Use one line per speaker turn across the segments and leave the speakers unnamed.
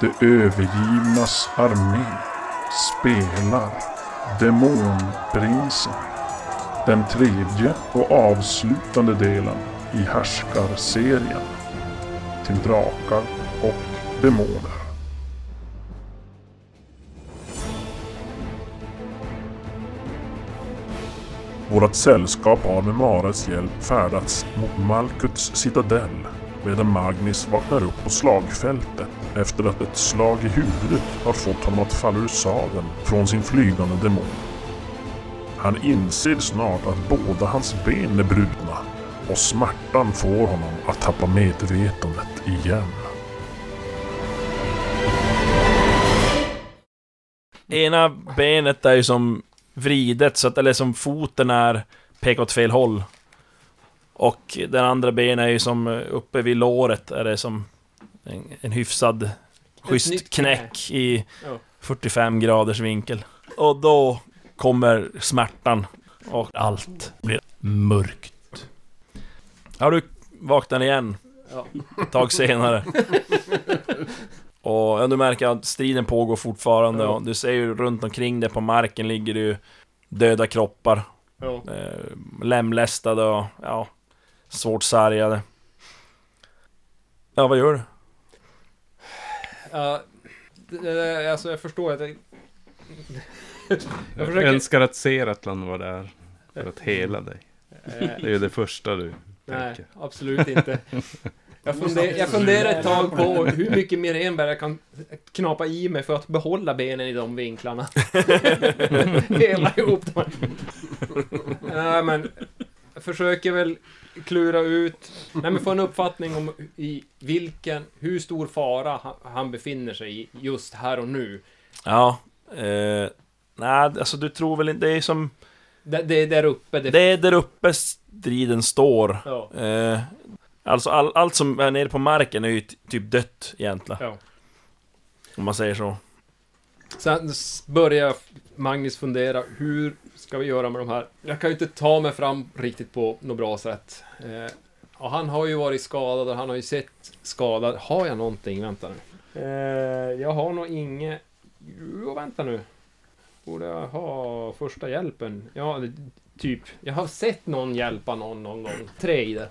De övergivnas armé spelar Demonprinsen. Den tredje och avslutande delen i Härskarserien. Till drakar och demoner. Vårt sällskap har med Maras hjälp färdats mot Malkuts citadell medan Magnus vaknar upp på slagfältet efter att ett slag i huvudet har fått honom att falla ur sadeln från sin flygande demon. Han inser snart att båda hans ben är brutna och smärtan får honom att tappa medvetandet igen.
Mm.
Ena benet är ju som vridet, så att, eller som foten är pekar åt fel håll. Och den andra benet är ju som eh, uppe vid låret, är det som en, en hyfsad schysst
nytt
knäck i
Ja.
45 graders vinkel. Och då kommer smärtan och allt blir mörkt. Ja, du vaknar igen
Ja.
ett tag senare. Och ja, du märker att striden pågår fortfarande
Ja.
och du ser ju runt omkring dig på marken ligger det ju döda kroppar.
Ja.
Eh, lemlästade och ja, svårt sargade. Ja, vad gör du?
Ja, det- alltså jag förstår att jag... Jag
Jag
försöker-
önskar att Seratlan var där för att hela dig.
Eh,
Det är ju det första du
Nej,
tänker.
absolut inte. Jag, funder, jag funderar ett tag på hur mycket mer enbär jag kan knapa i mig för att behålla benen i de vinklarna. Hela ihop dem. Nej, men jag försöker väl klura ut, nej men få en uppfattning om i vilken, hur stor fara han, han befinner sig i just här och nu.
Ja, eh, nej, alltså du tror väl inte, det är som,
Det, det är där uppe. Det,
det är där uppe striden står.
Ja,
Eh, alltså all, allt som är nere på marken är ju ty- typ dött egentligen,
ja.
om man säger så.
Sen s- börjar Magnus fundera, hur ska vi göra med de här? Jag kan ju inte ta mig fram riktigt på något bra sätt. Eh, och han har ju varit skadad och han har ju sett skadad. Har jag någonting? Vänta nu. Eh, jag har nog inget... Jo, vänta nu. Borde jag ha första hjälpen? Ja, det- typ. Jag har sett någon hjälpa någon någon gång. Tre i det.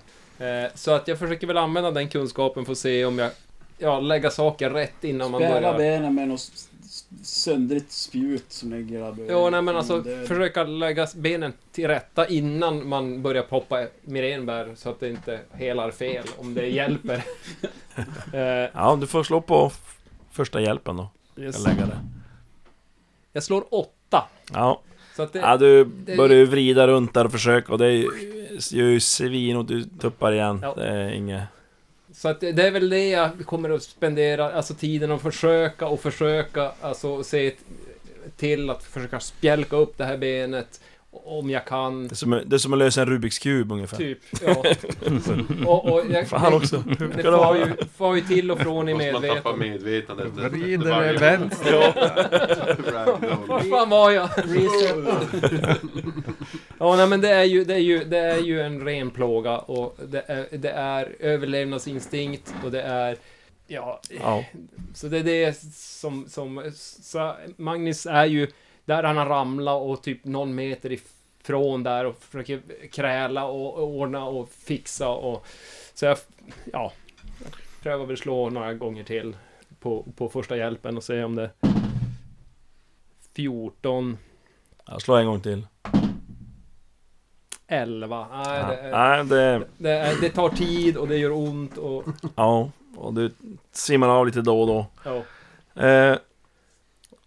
Eh, så att jag försöker väl använda den kunskapen för att se om jag... Ja, lägga saker rätt innan man börjar...
Spära benen med något s- s- söndrigt spjut som ni grabbar.
Eh,
Ja, nej men alltså
Det-
försöka lägga benen till rätta innan man börjar poppa mirenbär så att det inte helar fel, om det hjälper. Eh,
Ja, du får slå på f- första hjälpen då. Jag lägger det.
jag slår åtta.
Ja,
Så att det,
ja du börjar ju vrida runt där och försöka och det är ju- gör ju svin och du tuppar igen.
Ja.
Det är inget...
så att det, det är väl det jag kommer att spendera alltså, tiden och försöka och försöka, alltså se t- till att försöka spjälka upp det här benet om jag kan.
Det är som, det är som att lösa en Rubiks kub ungefär.
Typ, ja. och, och jag,
Fan också.
Det far ju, far ju till och från i
Måste man tappa
medvetandet.
medvetandet efter- efter varje
Vrider
gång.
vänster.
Var
Ragdoll.
fan var jag?
Reset.
Ja, nej, men det är, ju, det, är ju, det är ju en ren plåga och det är, det är överlevnadsinstinkt och det är... Ja,
Ja.
så det är det som... som så Magnus är ju där han har ramlat och typ någon meter ifrån där och försöker kräla och ordna och fixa och... Så jag... Ja. Jag prövar väl slå några gånger till på, på första hjälpen och se om det... 14,
ja, slå en gång till.
11. Nej,
Ja.
det är...
Nej, det...
Det, är- det tar tid och det gör ont och...
Ja, och du simmar av lite då och då.
Ja.
Eh,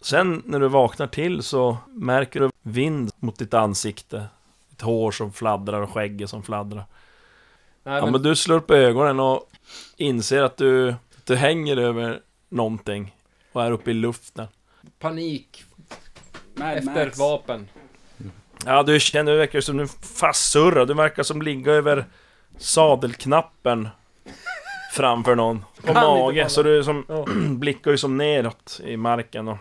sen när du vaknar till så märker du vind mot ditt ansikte. Ditt hår som fladdrar och skägget som fladdrar.
Nej,
Ja,
men,
men du slår upp ögonen och inser att du, att du hänger över någonting och är uppe i luften.
panik
Mad
efter
Max.
ett vapen.
Ja, du känner, du verkar som du fastsurrar. Du verkar som ligga över sadelknappen framför någon. På
Kan inte falla.
mage. Så du som,
Ja.
blickar ju som neråt i marken. Och,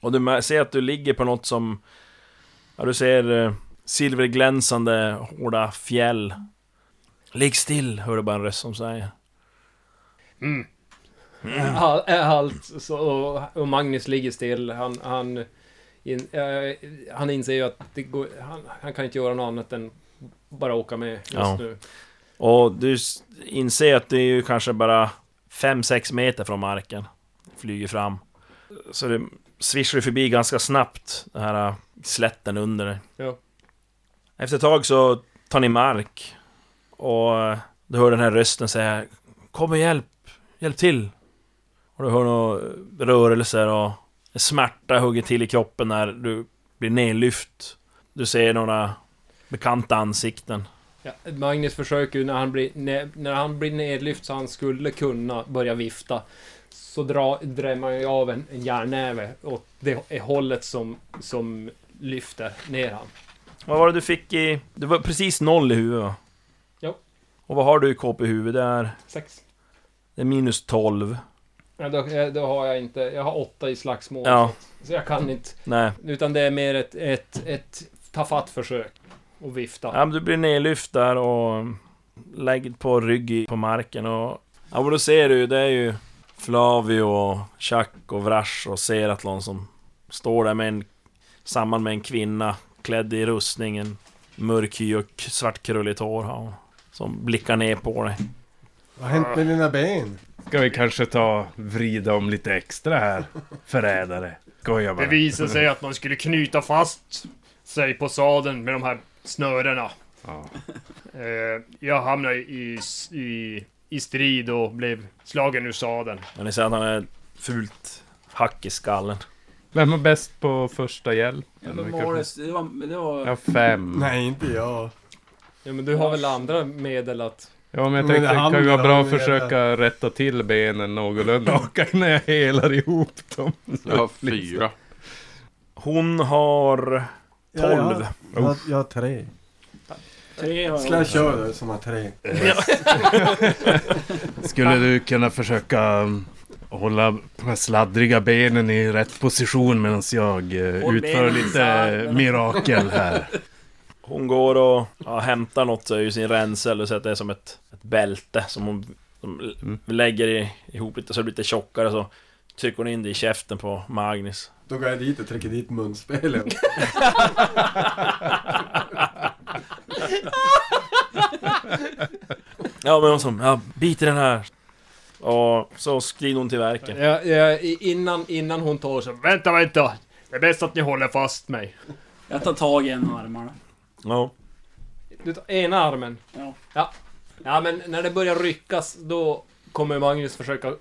och du mär- ser att du ligger på något som... Ja, du ser eh, silverglänsande hårda fjäll. Ligg still, hör du bara en röst som säger.
Mm. All, är allt. Så, och- och Magnus ligger still. Han, han, in, eh, han inser ju att det går, han, han kan inte göra något annat än bara åka med just
Ja.
nu.
Och du s- inser att det är ju kanske bara 5-6 meter från marken. Flyger fram. Så det svischar ju förbi ganska snabbt, den här äh, slätten under dig.
Ja.
Efter ett tag så tar ni mark. Och äh, du hör den här rösten säga Kom och hjälp! Hjälp till! Och du hör några äh, rörelser och en smärta hugger till i kroppen när du blir nedlyft. Du ser några bekanta ansikten.
Ja, Magnus försöker ju när han blir, när, när han blir nedlyft så han skulle kunna börja vifta. Så dra, drämmer han ju av en, en järnnäve åt det är hållet som, som lyfter ner han.
Vad var det du fick i... Det var precis noll i huvudet va?
Ja.
Och vad har du i KP i huvudet? Det är,
Sex.
det är minus 12.
Ja, då, eh, då har jag inte, jag har åtta i slagsmål.
Ja,
Så jag kan inte.
nej.
Utan det är mer ett, ett, ett tafatt försök. Och vifta.
Ja, men du blir nedlyft där och lägger på rygg i- på marken och... Ja men då ser du ju, det är ju Flavio och Chuck och Vrash och Seratlon som står där med en... Samman med en kvinna klädd i rustningen. Mörk hy och svartkrulligt hår har hon. Som blickar ner på dig.
Vad har hänt med dina ben?
Ska vi kanske ta vrida om lite extra här? Förrädare. Skojar bara.
visade sig att man skulle knyta fast sig på sadeln med de här snörena.
Ja.
Eh, jag hamnade i, i, i strid och blev slagen ur sadeln.
Men ni ser att han är fult hack i skallen.
Vem var bäst på första hjälp?
Ja, men Morris, det var... Det var
Ja, fem.
Nej, inte jag.
Ja, men du har väl andra medel att...
Ja, men jag
Men
tänkte
det
det kan ju
handlar
vara bra
om
att
det
försöka rätta till benen någorlunda och när jag helar ihop dem.
Jag har fyra.
Hon har...
Ja, jag har-
Tolv.
Jag, har- jag har tre.
tre har
Ska jag
jag.
köra det som har tre?
Skulle du kunna försöka um, hålla de här sladdriga benen i rätt position medan jag eh,
Håll
utför
benen
lite
isär,
eh,
men-
mirakel här?
Hon går och ja, hämtar något ur sin ränsel och så att det är som ett, ett bälte som hon som l-
Mm.
lägger i, ihop lite så det blir lite tjockare så trycker hon in det i käften på Magnus.
Då går jag dit och trycker dit munspelet.
Ja men hon som, ja bit i den här. Och så skrider hon till verken.
Ja, ja, i- innan, innan hon tar så...
Vänta, vänta! Det är bäst att ni håller fast mig.
Jag tar tag i en med armarna.
Ja.
Du tar ena armen.
Ja.
Ja, men när det börjar ryckas då kommer Magnus försöka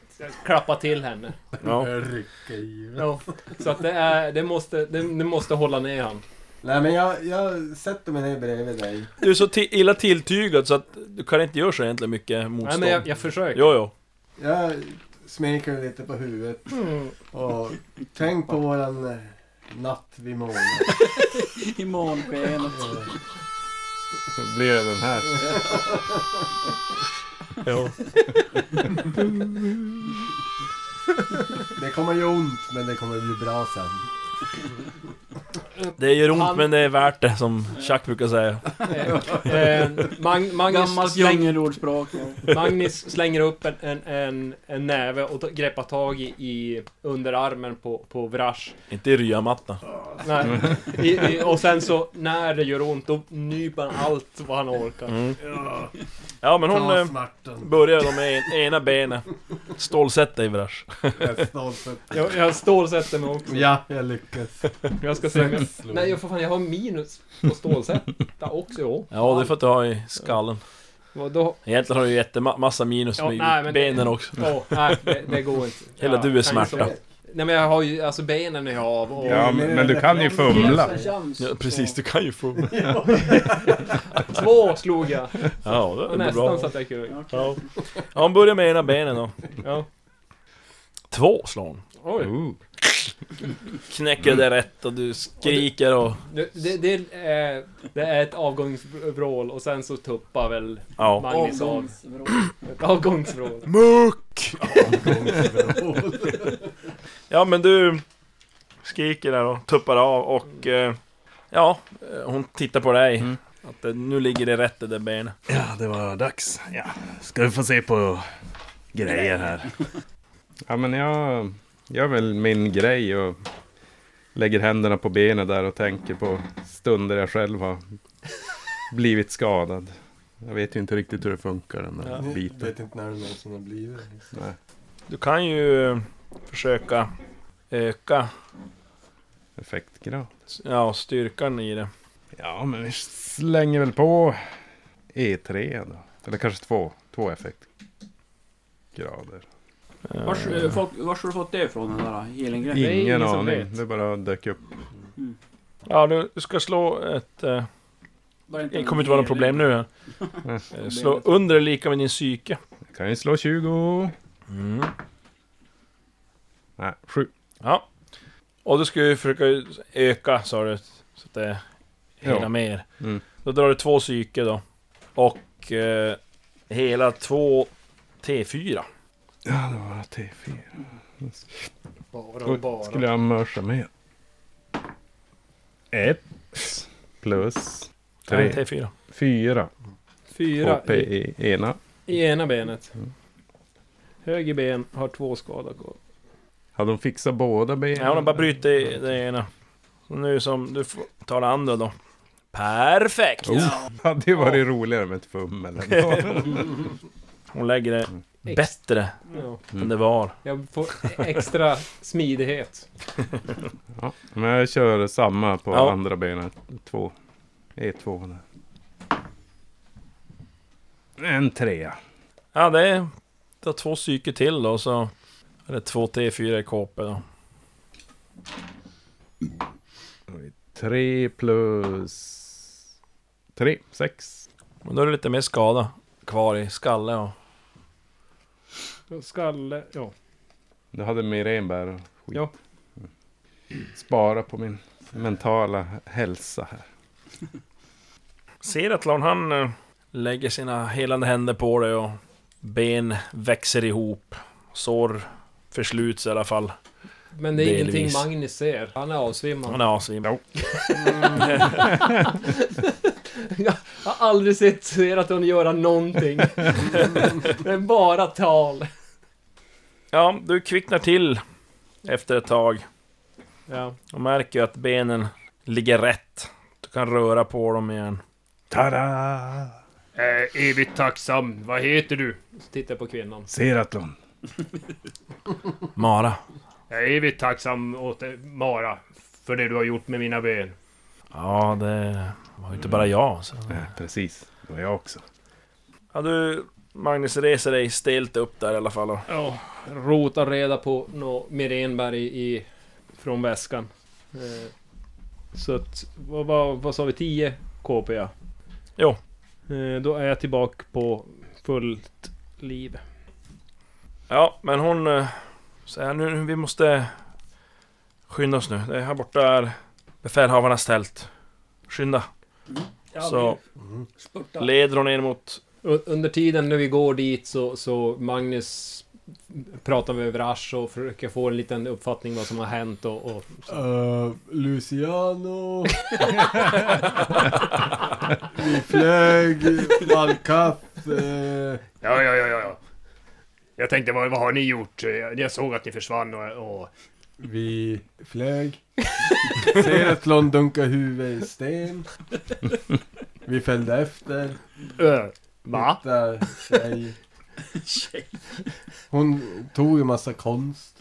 klappa till henne.
ja.
Jag rycker i.
Ja. Så att det, är, det, måste, det, det måste hålla ner han.
Nej, men jag, jag sätter mig ner bredvid dig.
Du är så ti- illa tilltygad så att du kan inte göra så egentligen mycket
Nej,
motstånd.
men jag, jag försöker.
Jo, jo.
Jag smeker lite på huvudet
Mm.
och tänk på våran eh, natt vid Eh, månen.
I månskenet.
Då blir det den här.
jo.
Det kommer ju ont, men det kommer bli bra sen.
Det gör ont
Han-
men det är värt det som Chuck brukar säga.
Eh, eh, Mag, Magnus,
Gammalt
släng,
djungelordspråk. ja.
Magnus slänger upp en, en, en, en näve och ta- greppar tag i, i underarmen på, på Vrash.
Inte i ryamattan.
Nej. I, i, och sen så när det gör ont då nyper han allt vad han orkar.
Mm. Ja men hon...
Ta
eh,
smärtan.
Börjar de med en, ena benet. Stålsätt dig Vrash.
Jag är stolt över-
Jag, jag stålsätter mig också.
Ja, jag lyckas.
Jag ska se om jag... Nej, jag, får fan, jag har minus på stålsätta också. Jo.
Ja, det är för att du har i skallen.
Vadå?
Egentligen har du ju jättemassa minus
Ja,
med
nej, men-
benen också.
Åh, nej, det, det går inte.
Hela
Ja,
du är
kan ju
smärta.
så- Nej men jag har ju, alltså benen är jag av och...
Ja, men, men du kan ju fumla.
Ges en chans.
Ja, precis, du kan ju få...
Två slog jag!
Ja, det är ändå
Nästan
bra.
så att jag kunde.
Ja, okej.
Ja. ja, hon börjar med ena benen då.
Ja.
Två slår hon.
Oj.
Ooh.
Knäcker det rätt och du skriker och...
Det, det, det, är, det är ett avgångsvrål och sen så tuppar väl
Ja.
Magnus av.
Avgångsvrål.
Ett avgångsvrål.
Muck! Ja, men du skriker där och tuppar av och... eh, Ja, eh, hon tittar på dig.
Mm.
Att eh, nu ligger det rätt i det benet.
Ja, det var dags. Ja. Ska vi få se på grejer här. Ja, men jag gör väl min grej och lägger händerna på benen där och tänker på stunder jag själv har blivit skadad. Jag vet ju inte riktigt hur det funkar den där
Ja.
Jag
biten.
vet inte när det någonsin har blivit.
Nej.
Du kan ju eh, försöka öka
Effektgrad.
ja, styrkan i det.
Ja, men vi slänger väl på E3 då. Eller kanske två. Två effektgrader.
Eh,
Vars, eh, folk, vars har du fått det ifrån den där helengrejen?
Ingen,
ingen som
aning.
vet.
Det bara dök upp.
Ja, du, du ska slå ett... eh, Det kommer inte vara något problem nu. här. Eh, Slå under eller lika med din psyke.
Jag kan ju slå 20. Nej, sju.
Ja. Och du ska ju försöka öka, sa du. Så att det hela
Ja.
mer.
Mm.
Då drar du två psyke då. Och eh, hela två T4.
Ja, det var T4.
Bara,
Då
bara.
skulle jag mörsa med. Ett plus
Ja,
tre.
T4.
Fyra.
Fyra
HP
i,
i ena.
i ena benet.
Mm.
Höger ben har två skador kvar.
Hade de fixat båda benen?
Ja, hon har bara bryter det, det ena. Så nu som du får ta det andra då. Perfekt!
Oh, hade ju varit roligare med ett fummel. ändå.
Hon lägger det
Ex-
bättre
Ja.
Mm.
än det var.
Jag får extra smidighet.
ja, men jag kör samma på
Ja.
andra benet. Två. E E2 där. En trea.
Ja, det är... Ta två psyke till då, så... Är det två T4 i KP då.
Tre plus... Tre. Sex.
Men då är det lite mer skada kvar i skalle och...
Skalle, ja.
Du hade Mirenbär och skit.
Ja.
Mm. Spara på min mentala hälsa här.
Seratlon han eh, lägger sina helande händer på dig och ben växer ihop. Sår försluts i alla fall.
Men det är
Delvis.
ingenting Magnus ser. Han är avsvimmad.
Han är asvimmad.
Jag har aldrig sett Seraton göra någonting. det är bara tal.
Ja, du kvicknar till efter ett tag
Ja.
och märker ju att benen ligger rätt. Du kan röra på dem igen.
Tada!
Eh, evigt tacksam. Vad heter du?
Så tittar jag på kvinnan.
Seratlon.
Mara.
Jag är evigt tacksam åt eh, Mara. För det du har gjort med mina ben.
Ja, det var ju inte bara jag. Så.
Ja, precis, det var jag också.
Ja, du Magnus reser dig stelt upp där i alla fall. Och
Ja. Rotar reda på nå Mirenberg i, från väskan. Eh, Så att, vad, vad, vad sa vi? 10 KP ja.
Jo.
Eh, Då är jag tillbaka på fullt liv.
Ja, men hon eh, säger nu, vi måste skynda oss nu. Det är här borta är befälhavarnas tält. Skynda. Så leder hon in mot...
U- Under tiden när vi går dit så, så Magnus pratar med Vrash och försöker få en liten uppfattning vad som har hänt och, och
Eh, Luciano. Vi flög, Valkaff. eh,
Ja, ja, ja, ja. ja. Jag tänkte, vad, vad har ni gjort? Eh, Jag såg att ni försvann och... och
vi flög. Seratlon dunkade huvudet i sten. Vi följde efter.
Ö, va?
Hittade tjej. Hon tog en massa konst.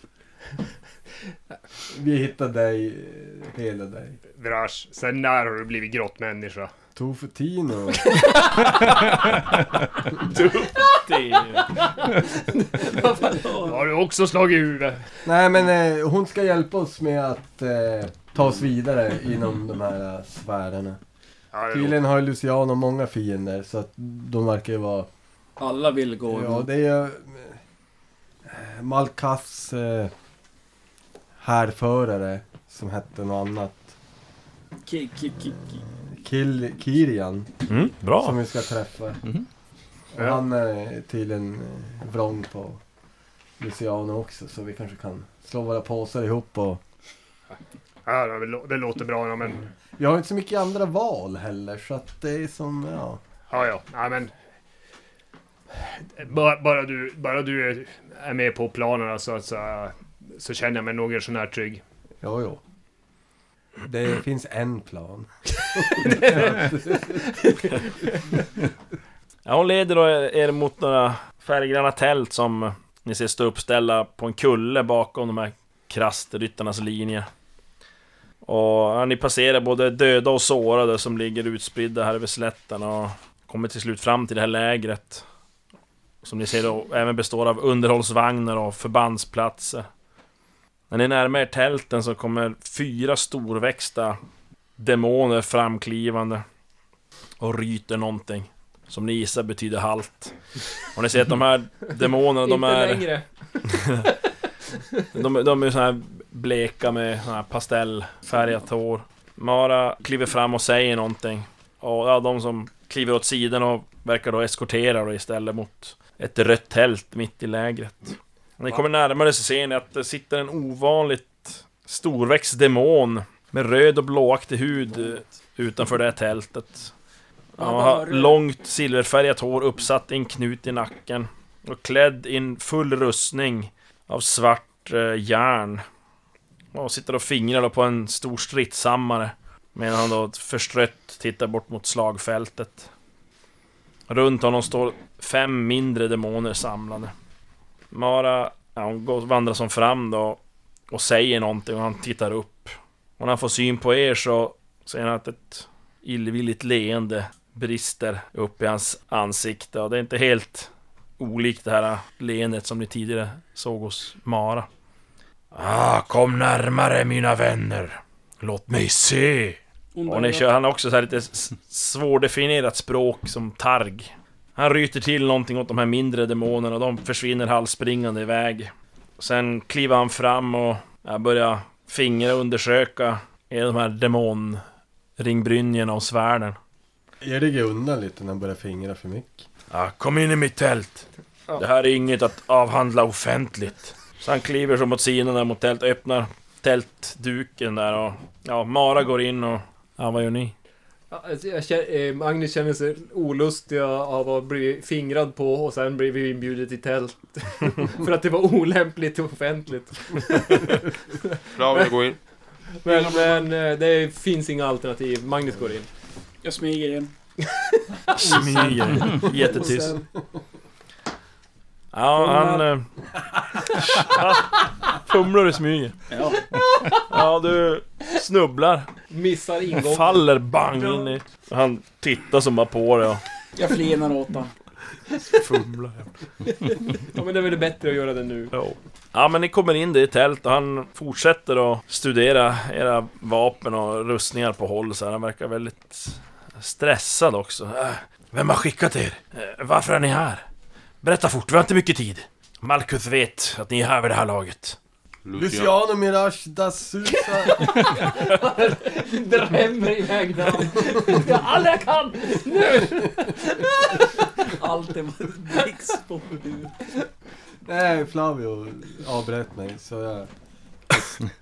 Vi hittade dig, eh, hela dig.
Vrash, sen när har du blivit grottmänniska?
Tofutino.
Har du också slagit huvudet?
Nej men eh, hon ska hjälpa oss med att eh, ta oss vidare inom de här eh, sfärerna.
Ja, det
Tydligen har ju Luciano många fiender så att de verkar ju vara...
Alla vill gå.
Ja det är ju... eh, Malkas eh, härförare som hette något annat.
Ki- ki- ki- ki-
Kill, Kirian
Mm,
som
bra.
vi ska träffa.
Mhm.
Och han eh, är tydligen eh, vrång på Luciano också så vi kanske kan slå våra påsar ihop och...
Ja, det, lå- det låter bra, ja, men...
Vi har ju inte så mycket andra val heller så att det är som, ja...
Ja, ja, ja, men... Bara, bara, du, bara du är- är med på planerna så, så, så känner jag mig något sån här trygg.
Jo, jo. Det finns en plan.
Ja, hon leder då er mot några färggranna tält som ni ser stå uppställda på en kulle bakom de här krastryttarnas linje. Och ja, ni passerar både döda och sårade som ligger utspridda här över slätten och kommer till slut fram till det här lägret. Som ni ser då även består av underhållsvagnar och förbandsplatser. När ni närmar er tälten så kommer fyra storväxta demoner framklivande och ryter någonting. Som ni gissar betyder halt. Och ni ser att de här demonerna, de
Inte
är...
längre.
De, de är så här bleka med sån här pastellfärgat hår. Mara kliver fram och säger någonting. Och ja, de som kliver åt sidan och verkar då eskortera då istället mot ett rött tält mitt i lägret. När ni kommer närmare så ser ni att det sitter en ovanligt storväxt demon med röd och blåaktig hud eh, utanför det här tältet. Ja,
Ja,
han
vad
har
var det?
långt silverfärgat hår uppsatt i en knut i nacken och klädd i en full rustning av svart eh, järn. Och sitter och fingrar då på en stor stridshammare medan han då förstrött tittar bort mot slagfältet. Runt honom står fem mindre demoner samlade. Mara, ja, hon går, vandrar som fram då och säger någonting och han tittar upp. Och när han får syn på er så ser han att ett illvilligt leende brister upp i hans ansikte och det är inte helt olikt det här leendet som ni tidigare såg hos Mara. Ah, kom närmare mina vänner. Låt mig se. Och ni kör han har också så här lite s- svårdefinierat språk som targ. Han ryter till någonting åt de här mindre demonerna och de försvinner halvspringande iväg. Sen kliver han fram och ja, börjar fingra och undersöka är de här demonringbrynjorna och svärden.
Jag ligger undan lite när jag börjar fingra för mycket.
Ja, kom in i mitt tält. Det här är inget att avhandla offentligt. Så han kliver som åt sidan där mot tält, öppnar tältduken där och... Ja, Mara går in och... Ja, vad gör ni?
Ja, alltså, jag känner, eh, Magnus känner sig olustig av att bli fingrad på och sen blev vi inbjudet till tält. För att det var olämpligt och offentligt.
Flavio går in.
Men, men eh, det finns inga alternativ. Magnus går in.
Jag smyger in.
Smyger. Jättetyst. Ja, han... eh, Fumlar och smyger.
Ja.
Ja, du snubblar.
Missar ingången.
Faller bang in i... Han tittar som bara på dig och
Jag flinar åt honom.
fumlar.
Ja, men det är väl bättre att göra det nu.
Ja. Ja men ni kommer in där i tält och han fortsätter att studera era vapen och rustningar på håll så här. Han verkar väldigt stressad också. Äh, Vem har skickat er? Äh, Varför är ni här? Berätta fort, vi har inte mycket tid. Malkuth vet att ni är här vid det här laget.
Luciano Mirage da Sousa!
Drämmer iväg namn. Ja, alla jag kan!
Allt är blixt på huvudet.
Nej, Flavio avbröt mig så jag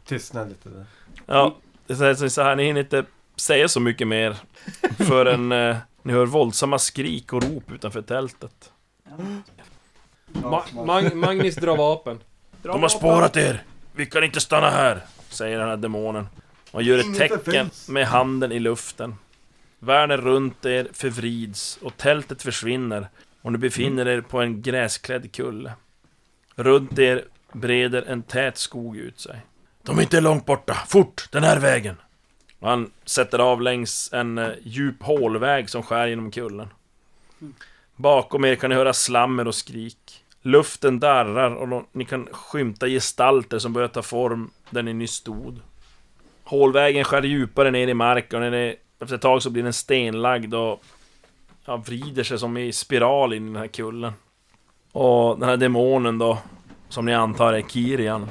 tystnade lite där.
Ja, det är så här- så så här, ni hinner inte säga så mycket mer förrän eh, ni hör våldsamma skrik och rop utanför tältet.
Ma Mag Magnus drar vapen.
De har spårat er! Vi kan inte stanna här! Säger den här demonen. Och gör ett
Inget
tecken
offens.
med handen i luften. Världen runt er förvrids och tältet försvinner och ni befinner er på en gräsklädd kulle. Runt er breder en tät skog ut sig. De är inte långt borta, fort, den här vägen! Och han sätter av längs en eh, djup hålväg som skär genom kullen. Bakom er kan ni höra slammer och skrik. Luften darrar och lo- ni kan skymta gestalter som börjar ta form där ni nyss stod. Hålvägen skär djupare ner i marken och när ni, efter ett tag så blir den stenlagd och ja, vrider sig som i spiral in i den här kullen. Och den här demonen då, som ni antar är Kirian.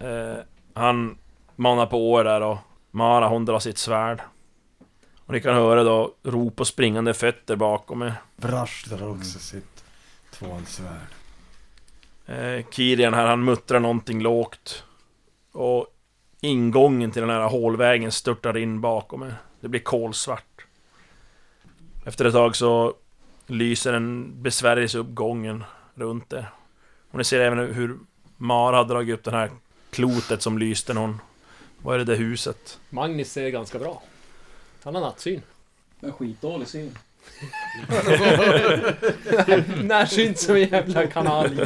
Eh, han manar på er där och Mara hon drar sitt svärd. Och ni kan höra då rop och springande fötter bakom er.
Brash drar också sitt tvåhandsvärd.
Eh, Kirian här, han muttrar någonting lågt. Och ingången till den här hålvägen störtar in bakom er. Det blir kolsvart. Efter ett tag så lyser en besvärjelse upp gången runt det. Och ni ser även hur Mara har dragit upp det här klotet som lyste när hon... Vad är det där huset?
Magnus ser ganska bra. Han har nattsyn.
Men skitdålig syn.
Närsynt som en jävla kanalj.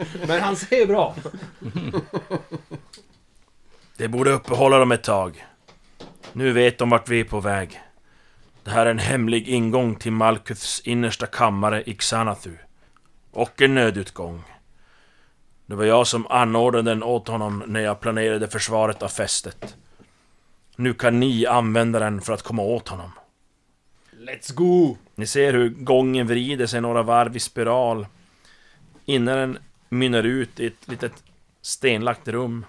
Men han ser bra.
Det borde uppehålla dem ett tag. Nu vet de vart vi är på väg. Det här är en hemlig ingång till Malkuths innersta kammare i Xanathu. Och en nödutgång. Det var jag som anordnade den åt honom när jag planerade försvaret av fästet. Nu kan ni använda den för att komma åt honom.
Let's go!
Ni ser hur gången vrider sig några varv i spiral innan den mynnar ut i ett litet stenlagt rum.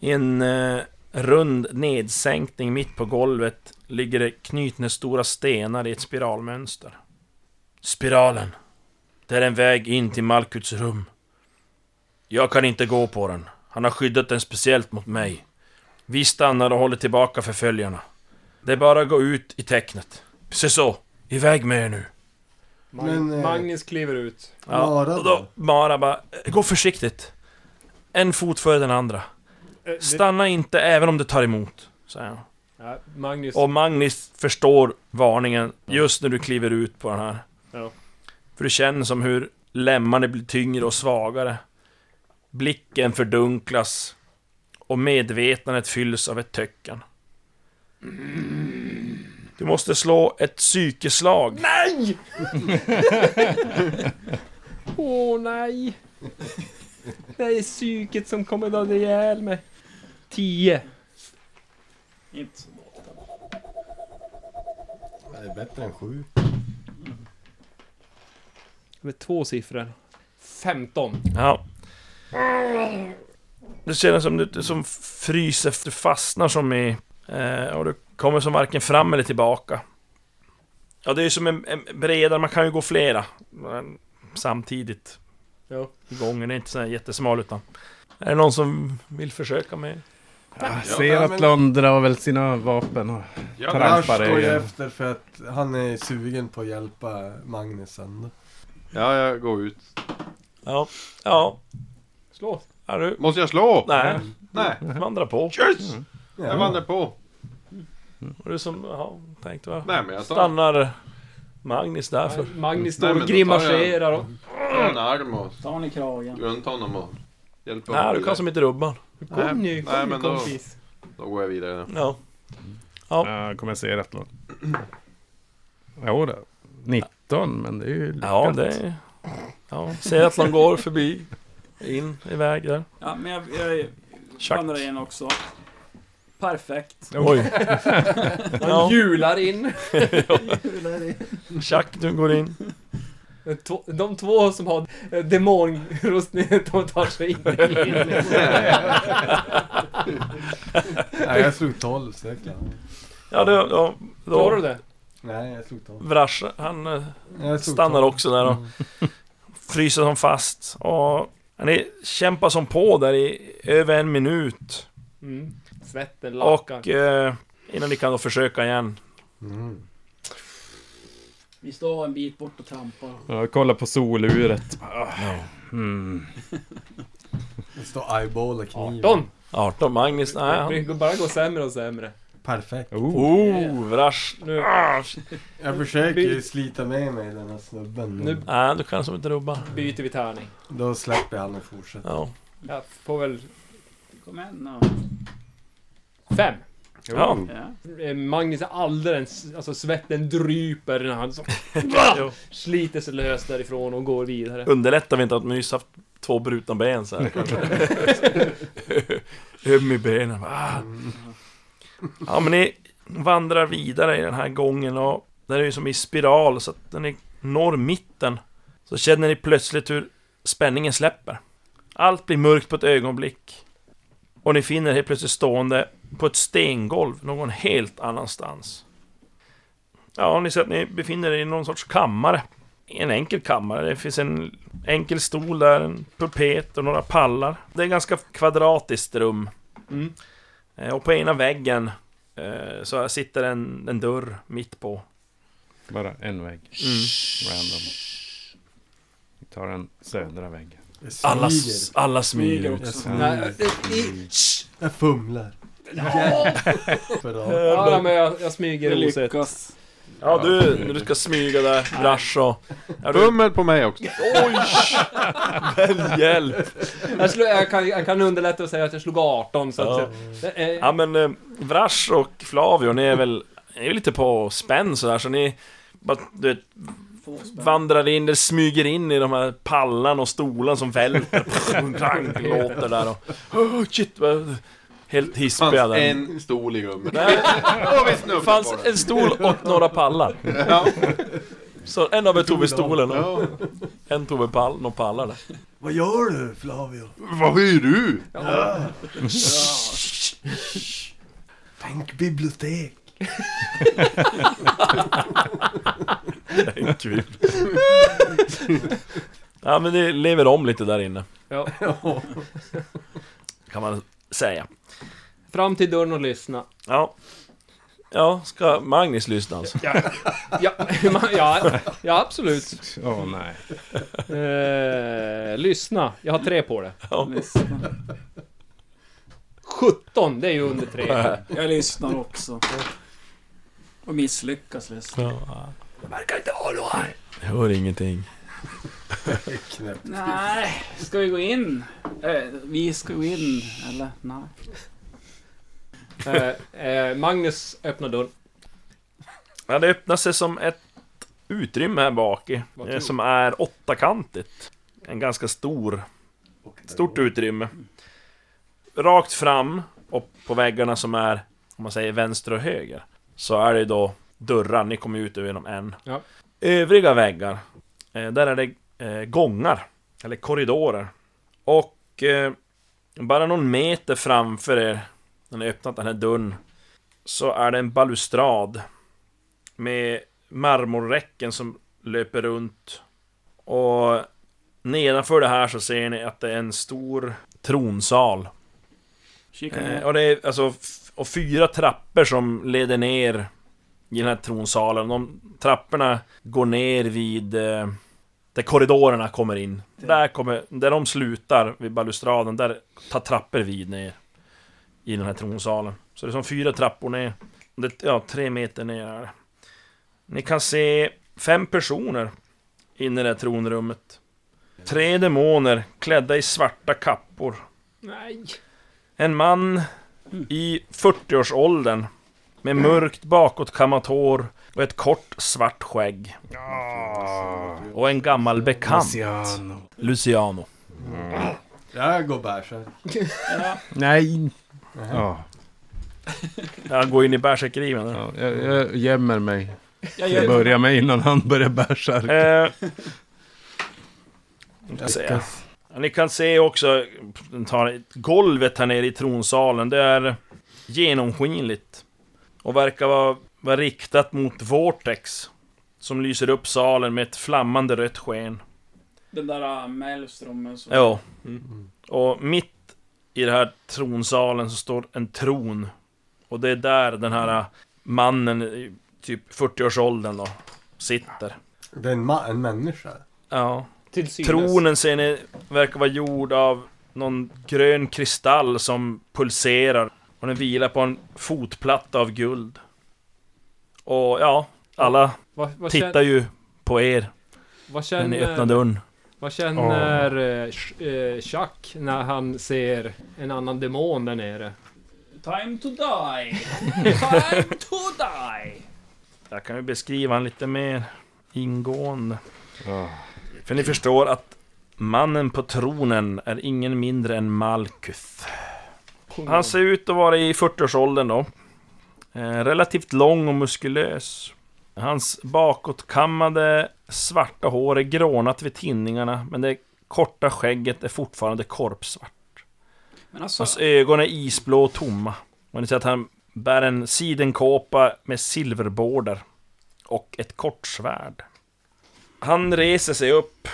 I en eh, rund nedsänkning mitt på golvet ligger det knytnävsstora stenar i ett spiralmönster. Spiralen. Det är en väg in till Malkuts rum. Jag kan inte gå på den. Han har skyddat den speciellt mot mig. Vi stannar och håller tillbaka förföljarna. Det är bara att gå ut i tecknet. Se så! Iväg med er nu!
Mag-
Men, eh,
Magnus kliver ut.
Mara
och
då?
då? Mara bara, "Eh, gå försiktigt. En fot före den andra.
Eh, det-
Stanna inte även om det tar emot, säger han.
Ja, Magnus...
Och Magnus förstår varningen just när du kliver ut på den här.
Ja.
För du känner som hur lemmarna blir tyngre och svagare. Blicken fördunklas. Och medvetandet fylls av ett töcken. Du måste slå ett psykeslag.
Nej! Åh nej! Det är psyket som kommer döda ihjäl mig. Tio.
Inte så bra.
Det är bättre än sju.
Med två siffror. Femton.
Ja. Det känns som du som fryser, du fastnar som i... Eh, och du kommer som varken fram eller tillbaka. Ja, det är ju som en, en bredare, man kan ju gå flera. men Samtidigt.
Ja.
I gången, det är inte så här jättesmal utan... Är det någon som vill försöka med?
Jag
Ja,
ser att
men-
Lon drar väl sina vapen och
Ja,
Trampar
Lars står ju
igen.
efter för att han är sugen på att hjälpa Magnus ändå.
Ja, jag går ut.
Ja. Ja.
Slå.
Är du?
Måste jag slå?
Nej,
Nej.
vandra på.
Yes! Jag
Ja.
vandrar på.
Och du som, ja, tänkte va?
Nej, men jag tar
Stannar Magnus där
Alltså,
för...
Magnus
Nej,
står
men
och
då tar jag-
grimaserar och...
Mm. en arm och
Ta ni kragen.
runt honom och hjälper
Nej,
honom
du kan som inte rubban.
Nej,
Kom nu,
nej,
kom nu
men då-
kompis.
Då går jag vidare.
Ja.
Ja, jag kommer se rätt långt. Jo då. 19, men det är ju lyckat.
Ja, det är... Ja, ser att de går förbi. In, iväg där.
Ja, men jag, jag
Tjack.
vandrar in också. Perfekt.
Oj.
Han
Ja,
hjular in.
tjack, du går in.
Två- De två som har eh, demonrustning, de tar sig in.
Nej, jag slog 12 så jag klarar det.
Ja, då... då,
Klarar du
då
det?
Nej, jag slog 12.
Vrascha, han eh,
Jag slog
stannar
12.
också där och fryser som fast. Och ni kämpar som på där i över en minut.
Mm. Svetten lackar.
Och eh, innan ni kan då försöka igen.
Mm.
Vi står en bit bort och trampar.
Jag kollar på soluret. Ah, Mm.
Det står eyeball och kniv.
18!
18 Magnus, nej
Det
han...
går bara gå sämre och sämre.
Perfekt.
Oh.
Oh, vrasch!
Nu,
Jag försöker ju slita med mig den här snubben.
Nu-
Nu.
Nej, du kan som inte rubba.
byter vi tärning.
Då släpper jag han och fortsätter.
Ja.
Jag får väl
Kom igen nu.
Mm.
fem.
Ja.
Ja.
Eh, Magnus är alldeles... Alltså svetten dryper när han så,
Jo. Mm.
sliter sig lös därifrån och går vidare.
Underlättar vi inte att man nyss haft två brutna ben så här kanske? Öm i benen. Ah. Ja men ni vandrar vidare i den här gången och den är ju som i spiral så att när ni når mitten så känner ni plötsligt hur spänningen släpper. Allt blir mörkt på ett ögonblick. Och ni finner helt plötsligt stående på ett stengolv någon helt annanstans. Ja, ni ser att ni befinner er i någon sorts kammare en enkel kammare. Det finns en enkel stol där, en pulpet och några pallar. Det är ett ganska kvadratiskt rum.
Mm.
Eh, Och på ena väggen eh, så sitter en, en dörr mitt på.
Bara en vägg. Mm. Random. Vi tar den södra väggen.
Jag
Alla,
smyger.
alla
Smyger
smyger.
också.
Nej, det, i,
Jag fumlar. Bra.
ja, nej, men jag, jag
Det
smyger osett.
lyckas.
Ja du, när du ska smyga där, brasch och... Ja, du,
Bummel på mig också.
oj! Men hjälp!
Jag, slog, jag, kan, jag kan underlätta och säga att jag slog 18 så
Ja.
att... Ja. Eh,
Ja men eh, Vrash och Flavio, ni är väl ni är lite på spänn sådär så ni bara, du vet, vandrar in, eller smyger in i de här pallarna och stolarna som välter. Prank, låter där och... Oh, shit, vad- helt
Fanns
hispiga där.
en stol i rummet.
Nej,
Och vi
det
snubblade
fanns
på den.
en stol och några pallar.
Ja.
Så en av er tog vid stolen och
Ja.
en tog vid pall, några pallar där.
Vad gör du Flavio?
Vad är du?
Tänk bibliotek.
En kvibb. Ja men det lever om lite där inne.
Ja.
Kan man säga.
Fram till dörren och lyssna.
Ja. Ja, ska Magnus lyssna alltså?
Ja, ja, ja absolut.
Åh nej.
Eh, lyssna, jag har tre på det.
Ja.
Lyssna.
17, det är ju under tre.
Jag lyssnar också. Och misslyckas lyssna.
ja. verkar inte ha något här. Jag hör ingenting.
Nej, ska vi gå in? Eh, vi ska gå in, eller? Nej.
Eh, eh, Magnus öppnar dörren.
Ja, det öppnar sig som ett utrymme här bak i,
Vad
eh,
tror du?
som är åttakantigt. En ganska stor, stort utrymme. Rakt fram och på väggarna som är, om man säger vänster och höger, så är det då dörrar, ni kommer ut över genom en.
Ja.
Övriga väggar, eh, där är det eh, gångar, eller korridorer. Och eh, bara någon meter framför er, när ni öppnat den här dörren, så är det en balustrad med marmorräcken som löper runt. Och nedanför det här så ser ni att det är en stor tronsal.
Kika
Eh,
ner.
och det är alltså f- och fyra trappor som leder ner i den här tronsalen. De trapporna går ner vid eh, där korridorerna kommer in. Där, kommer, där de slutar vid balustraden, där tar trappor vid ner i den här tronsalen. Så det är som fyra trappor ner. Det, ja, tre meter ner är det. Ni kan se fem personer inne i det här tronrummet. Tre demoner klädda i svarta kappor.
Nej.
En man i 40-årsåldern med mörkt bakåtkammat hår och ett kort svart skägg. Och en gammal bekant,
Luciano.
Luciano.
Jag går bärsärk.
Nej. Ja,
Han går in i bärsärkeriven.
ja, jag, jag gömmer mig. Jag
Jag gör
börjar med innan han börjar bärsärka.
Eh, ska säga. Ja, ni kan se också, den tar- golvet här nere i tronsalen, det är genomskinligt. Och verkar vara, vara riktat mot Vortex. Som lyser upp salen med ett flammande rött sken.
den där äh, Maelströmmen som...
Ja. Mm.
Mm.
Och mitt i den här tronsalen så står en tron. Och det är där den här mannen, i typ 40-årsåldern då, sitter.
Det är en, ma- en människa.
Ja.
Till synes.
Tronen ser ni verkar vara gjord av någon grön kristall som pulserar. Och den vilar på en fotplatta av guld. Och ja, alla
Vad, vad
tittar
känner,
ju på er
vad
när ni öppnar
känner,
dörren.
vad känner eh, Sh- eh, Chuck när han ser en annan demon där nere?
Time to die! Time to die!
Jag kan ju beskriva han lite mer ingående.
Ja.
För ni förstår att mannen på tronen är ingen mindre än Malkuth. Han ser ut att vara i 40-årsåldern då. Eh, relativt lång och muskulös. Hans bakåtkammade svarta hår är grånat vid tinningarna, men det korta skägget är fortfarande korpsvart.
Men alltså,
Hans ögon är isblå och tomma. Och ni ser att han bär en sidenkåpa med silverborder och ett kort svärd. Han reser sig upp.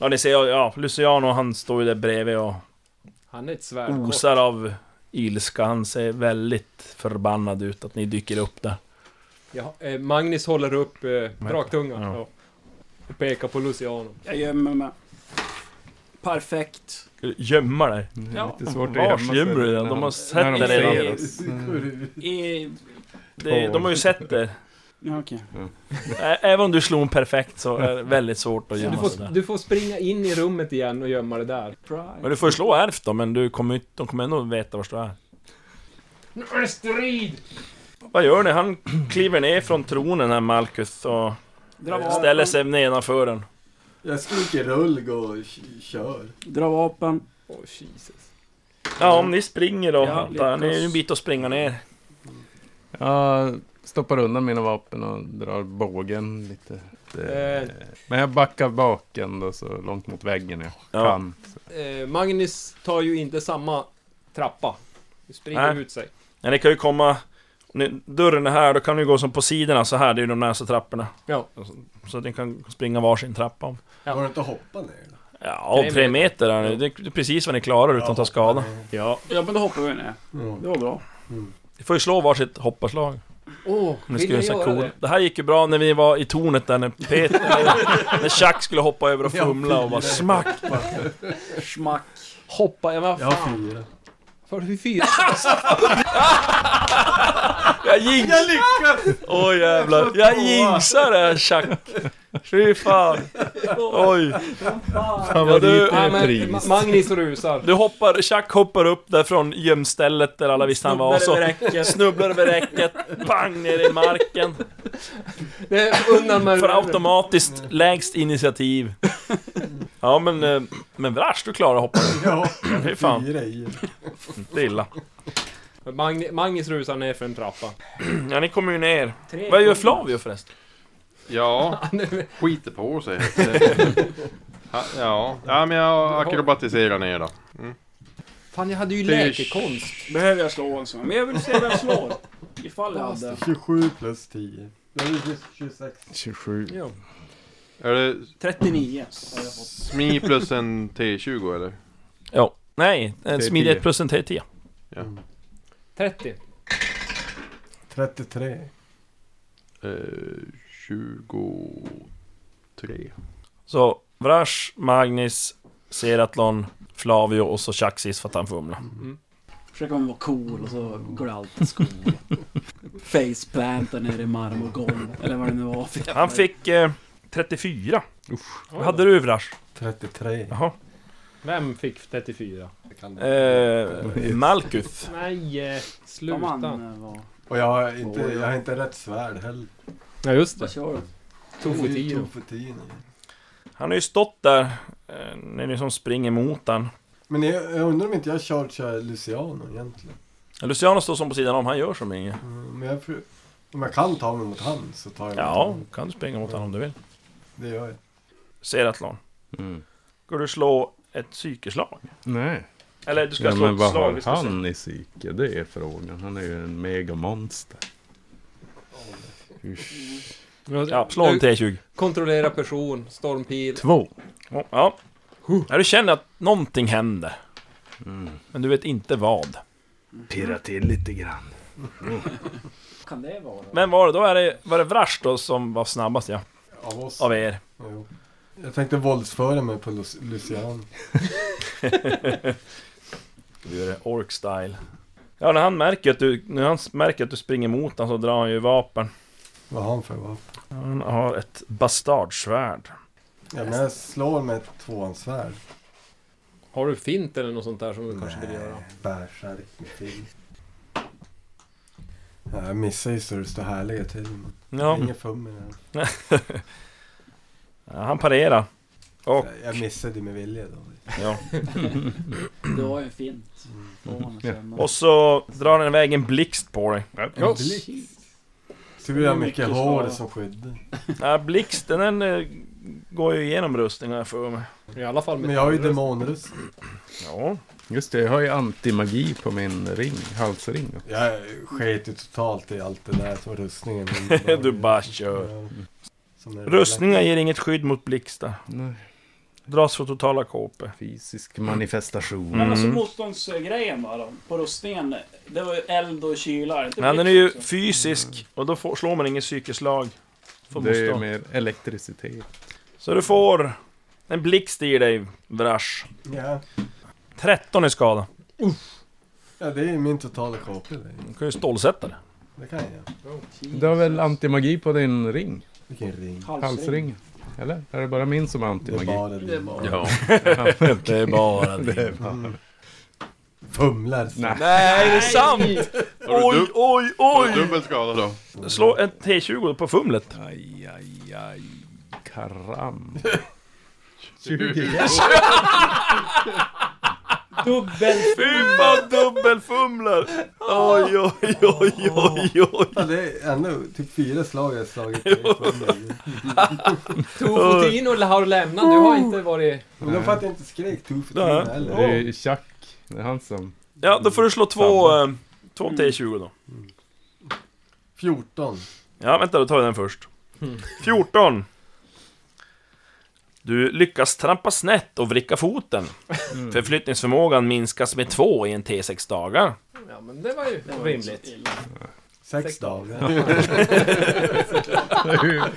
Ja, ni ser, ja, Luciano han står ju där bredvid och
Han är ett svärdkort.
osar av ilska. Han ser väldigt förbannad ut att ni dyker upp där.
Ja, eh, Magnus håller upp eh, draktungan.
Ja.
Ja. Och pekar på Luciano.
Jag gömmer mig. Perfekt.
Ska du Gömma dig?
Det är
Ja.
lite svårt att
Vars
gömma sig
gömmer du den?
när
De har sett
när de
det
ser
redan.
oss.
I...
Det, de har ju sett det.
Ja, okej.
Ä- Även om du slog en perfekt så är det väldigt svårt att
Du
gömma sig
får,
där.
du får springa in i rummet igen och gömma det där.
Bra.
Men du får ju slå ärvt då, men du kommer, ju inte- de kommer ändå veta vart du är.
Nu är det strid!
Vad gör ni? Han kliver ner från tronen här, Malkus, och
Dra vapen.
ställer sig nedanför den.
Jag skriker rulg och k- kör.
Dra vapen.
Åh Jesus.
Ja, om ni springer då,
Ja,
antar jag. Ni är ju en
lyckas.
bit att springa ner.
Jag stoppar undan mina vapen och drar bågen lite. Det-
Eh.
Men jag backar bak ändå så långt mot väggen jag
Ja.
kan.
Eh, Magnus tar ju inte samma trappa. Du springer
Nej.
ut sig.
Men ni kan ju komma... ni- Dörren är här, då kan ni gå som på sidorna så här, det är ju de närmsta trapporna.
Ja.
Så att ni kan springa varsin trappa om.
Ja.
Har du inte hoppat ner? då?
Ja,
Tre
tre meter är ni. Det är precis vad ni klarar utan att ta skada.
Ja.
Ja, men då hoppar vi ner.
Mm.
Det var bra.
Ni får ju slå varsitt hopparslag.
Åh,
Om ni
vill
ska
jag
göra så här
göra
cool.
det?
det. här gick ju bra när vi var i tornet där när Peter... när Chuck skulle hoppa över och fumla och bara smack!
Schmack.
Hoppa, ja men vad
Jag har fyra.
fan. Hur fyra?
Jag jinx! Jag lyckades! Åh jävlar, jag jinxade Chuck! Fy fan! Oj!
Favorit
Ja,
är
men, Ma-
pris.
Magnus rusar.
Du hoppar, Chuck hoppar upp där från gömstället där alla visste han var och så snubblar över räcket, pang ner i marken.
Det är undan med
För automatiskt lägst initiativ. Ja men, eh, men Vrash du klarar att hoppa.
Ja,
Fy fan,
fyra i.
det är illa.
Magni- Magnus rusar ner för en trappa.
Ja ni kommer ju ner. Vad gör Flavio förresten?
Ja, skiter på sig. Ha- Ja, ja men jag akrobatiserar ner då.
Fan, jag hade ju
Fyrs.
läkekonst.
Behöver jag slå alltså? Men jag vill se vem slår. Ifall jag hade.
27 plus 10. Det är 26.
27.
Är det
39.
SMI plus en T20 eller?
Ja. Nej, en
T10.
smidighet plus en T10.
30.
33.
Eh, 23.
Så Vrash, Magnus, Seratlon, Flavio och så Chaxis för att han fumlar.
Försöker man vara cool och så går det alltid skog. Faceplanta nere i marmorgolv. Eller vad det nu var för jävla-
Han fick eh, 34. Vad hade du Vrash?
33.
Jaha.
Vem fick 34?
Eh, Malkuth.
Nej, eh,
Vad man
sluta.
eh, var.
Och jag har inte, jag har inte rätt svärd heller.
Ja, just
Vad
det.
kör du?
Tofutiro.
Tofutino.
Han har ju stått där eh, när ni som springer mot han.
Men jag, jag undrar om inte jag chargear Luciano egentligen.
Luciano står som på sidan om, han gör som inget.
Mm, Men jag, för- om jag kan ta mig mot han så tar jag mig mot
Ja,
han.
kan du springa mot honom om du vill.
Det gör jag.
Seratlon.
Mm.
Ska du slå ett psykeslag?
Nej.
Eller du ska
Ja,
slå
men
ett
vad
slag. vi
har
ska se.
han i psyke? Det är frågan. Han är ju en megamonster. Usch.
Ja, slå en T20.
Kontrollera person, stormpil.
Två.
Ja, Ja. ja. Du känner att någonting händer. Men du vet inte vad.
Pirra till lite grann.
Kan det vara?
Men var det då? Är det, var det Vrash då som var snabbast ja?
Av oss.
Av er?
Jo. Jag tänkte våldsföra mig på Lu- Luciano.
Du är ork style. Ja, när han märker att du, när han märker att du springer mot honom så drar han ju vapen.
Vad har han för vapen?
Han har ett bastardsvärd.
Ja, men jag slår med ett tvåhandsvärd.
Har du fint eller något sånt där som du kanske vill göra?
Bärsärk med film. Ja, jag missar ju så det står härliga till. Men
Ja,
Inget fummel. här.
Mm. ja, han parerar. Och,
Jag- Jag missade med vilja då.
ja.
Det var ju en fint. Får man känna.
och så drar han iväg en blixt på dig.
En blick.
Shit.
Tur jag har
Mycket
mycket hår
svårare.
som skydd.
Ja, blixten den eh, går ju igenom rustningen här för mig.
I alla fall med
Men jag har ju demonrust.
Ja.
Just det, jag har ju antimagi på min ring, halsring.
Jag sket ju totalt i allt det där som rustningen.
Du bara kör.
Ja. Som en-
Rustningar ger inget skydd mot blixtar.
Nej.
Dras för totala KP.
Fysisk manifestation.
Mm.
Men alltså motståndsgrejen bara då, på rustningen. Det var ju eld och typ kyla. inte
Men den är
blixt
ju
också?
fysisk och då får, slår man ingen psykisk slag. För
Mm. det är ju
motstånd.
mer elektricitet.
Så du får en blixt i dig, Vrash.
Ja.
13 i skada.
ja, det är min totala KP. det.
Du kan ju stålsätta det.
Det kan jag.
Du har väl antimagi på din ring?
Vilken ring.
Halsring? Eller? Är det bara min som har
Det är
antimagi?
bara det. är bara.
Ja.
Det är bara det.
Fumlar. så.
Nej.
Nej, det är sant!
Har du
Oj,
dub-
oj,
har du
oj!
dubbel skada då?
Slå en T20 på fumlet.
Aj, aj, aj. Karam.
Dubbel...
Fy fan, dubbelfumlar! Oj, oj, oj, oj, oj!
Ja, det är ändå typ fyra slag jag har slagit. i fumlar.
Tofotino har lämnat, du har inte varit...
Men de fattar inte skrek tu för
Nej.
tu heller.
Det är ju Chuck. Det är han som...
Ja, då får du slå två, eh, två T20 då.
14.
Ja, vänta, då tar vi den först. 14. Du lyckas trampa snett och vricka foten.
Mm.
Förflyttningsförmågan minskas med två i en T6 dagar.
Ja men det var ju rimligt.
Sex dagar.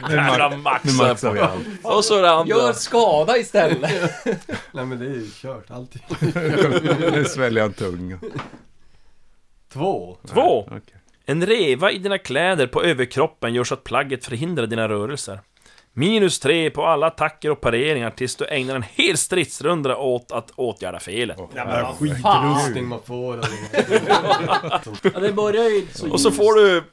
Jävla
Nu
maxar
maxar
på.
vi allt.
Och så det
Gör
andra.
skada istället!
Nej men det är ju kört allting.
Nu sväljer jag en tunga.
Två.
Två.
Okej.
En reva i dina kläder på överkroppen gör så att plagget förhindrar dina rörelser. Minus tre på alla attacker och pareringar tills du ägnar en hel stridsrunda åt att åtgärda felet.
Nej, men vad
Skitrustning man får. och-
Ja, det börjar ju så
Och så
ljust.
får du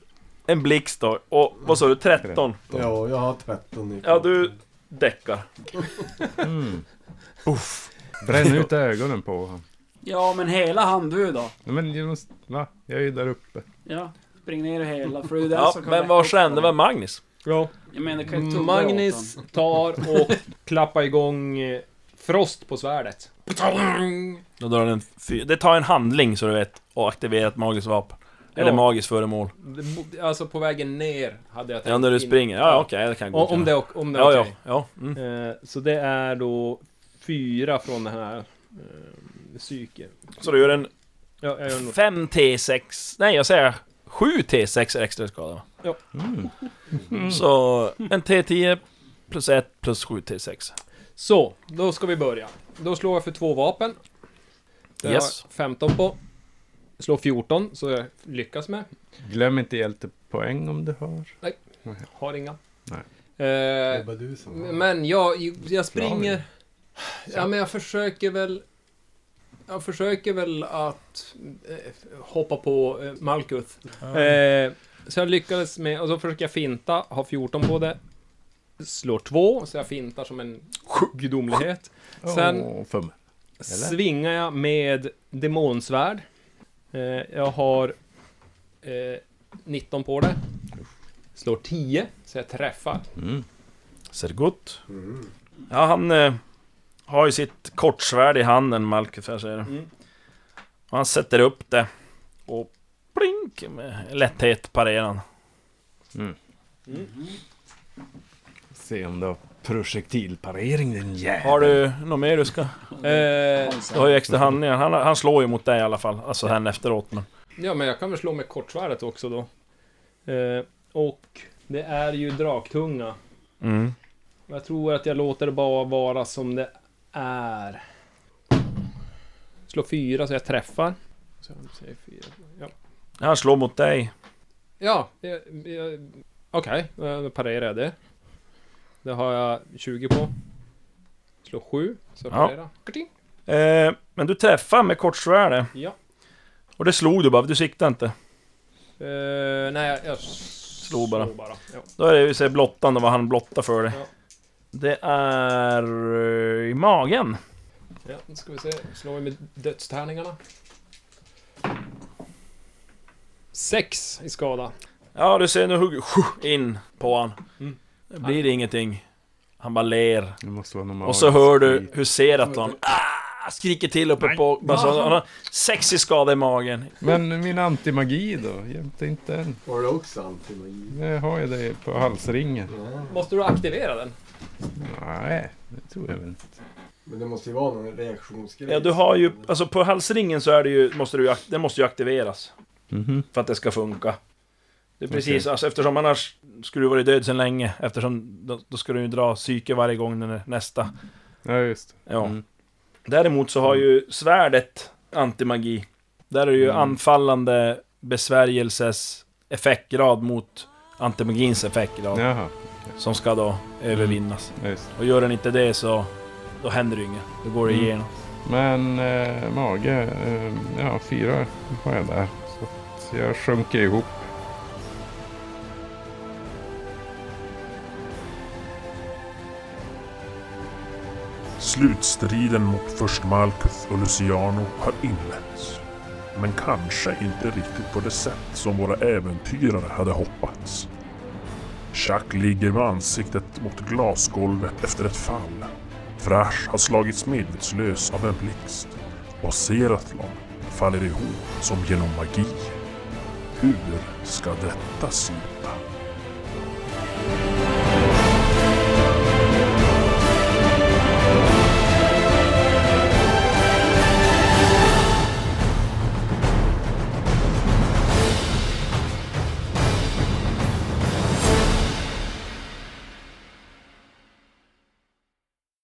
en blixt då, och vad sa du, 13?
Ja, jag har 13 nu.
Ja, du däckar.
Mm.
Uff.
Bränn ut ögonen på honom.
Ja, men hela han du då.
Nej, Men jag måste... Va? Jag är ju där uppe.
Ja. Spring ner hela, för det är ju det
Ja,
som kan
men
väcka
vad
upp
hände
dem.
med Magnus?
Ja.
Jag menar, kan ju tumma åt
Magnus
dem.
tar och klappar igång eh, Frost på svärdet. Patang!
Då drar den fy- det tar en handling så du vet, och aktivera ett magiskt vapen. Eller
Ja.
magiskt föremål.
Det bo- Alltså på vägen ner hade jag tänkt.
Ja, när du
in-
springer. Ja, ja, okej, det kan jag
Om,
godkänna.
om det, är- om det är
Ja,
okej.
ja, ja. Mm.
Eh, Så det är då fyra från den här eh, psyken.
Så du gör en
Ja, jag gör nog...
5 T6, nej jag säger 7 T6 är extra skada. va?
Ja.
Mm. Så en T10 plus 1 plus 7 T6.
Så, då ska vi börja. Då slår jag för två vapen. Det har
Yes.
jag 15 på. Slår 14, så jag lyckas med.
Glöm inte hjältepoäng om du har.
Har inga.
Nej.
Det
Eh,
är bara du som har.
Men jag, jag
Slagen.
springer... Ja, men jag försöker väl... Jag försöker väl att eh, hoppa på eh, Malkuth. Eh, så jag lyckades med... Och så försöker jag finta, har 14 på det. Slår två, så jag fintar som en gudomlighet. Sen-
Åh, fum.
Svingar jag med demonsvärd. Eh, jag har eh, 19 på det. Slår 10, så jag träffar.
Mm.
Ser det gott?
Mm.
Ja, han eh, har ju sitt kortsvärd i handen, Malkus, här säger du.
Mm.
Och han sätter upp det. Och plink! Med lätthet parerar han.
Se om du har projektilparering din jävel.
Har du något mer du ska?
Eh,
Du har ju extra handlingar. Han, han slår ju mot dig i alla fall. Alltså här efteråt, men...
Ja, men jag kan väl slå med kortsvärdet också då. Eh, och det är ju draktunga.
Mm.
Och Jag tror att jag låter det bara vara som det är. Slå fyra så jag träffar. Så jag säger fyra. Ja,
Han slår mot dig.
ja jag- jag- okej. eh, Då parerar jag det. Det har jag 20 på. Slå sju, så jag
Ja.
parerar. Karting.
Eh, men du träffar med kortsvärde.
Ja.
Och det slog du bara, du siktade inte.
Eh, nej, jag, jag
Slå
slår
bara.
bara. Ja.
Då är det ju så här blottande vad han blottar för dig.
Ja.
Det är eh, i magen.
Ja, nu ska vi se. Slår vi med dödstärningarna. Sex i skada.
Ja, du ser nu hugger sju, in på han.
Mm.
Det blir ingenting. Han bara ler.
Det måste vara någon
Och så hör du hur Seraton ah, skriker till uppe på... Alltså, han har sex i skada i magen.
Men min antimagi då? Jämte inte än.
Har du också antimagi?
Jag har ju det på halsringen.
Måste du aktivera den?
Nej, det tror jag väl inte.
Men det måste ju vara någon reaktionsgrej.
Ja, du har ju, alltså på halsringen så är det ju, måste du, ju ak- den måste ju aktiveras
Mhm.
för att det ska funka. Det är precis, alltså, eftersom annars skulle du varit död sedan länge, eftersom då, då ska du ju dra psyke varje gång den är nästa.
Ja, just
Ja.
Mm.
Däremot så har ju svärdet antimagi. Där är det ju
Mm.
anfallande besvärjelses effektgrad mot antimagins effektgrad
Jaha,
som ska då övervinnas.
ja, just
Och gör den inte det så då händer det ju inget. Då går det
Mm.
igenom.
Men eh, mage, eh, ja fyra har jag där. Så att jag sjunker ihop.
Slutstriden mot först Malkuth och Luciano har inletts. Men kanske inte riktigt på det sätt som våra äventyrare hade hoppats. Jack ligger med ansiktet mot glasgolvet efter ett fall. Frash har slagits medvetslös av en blixt och Seratlon faller ihop som genom magi. Hur ska detta sluta?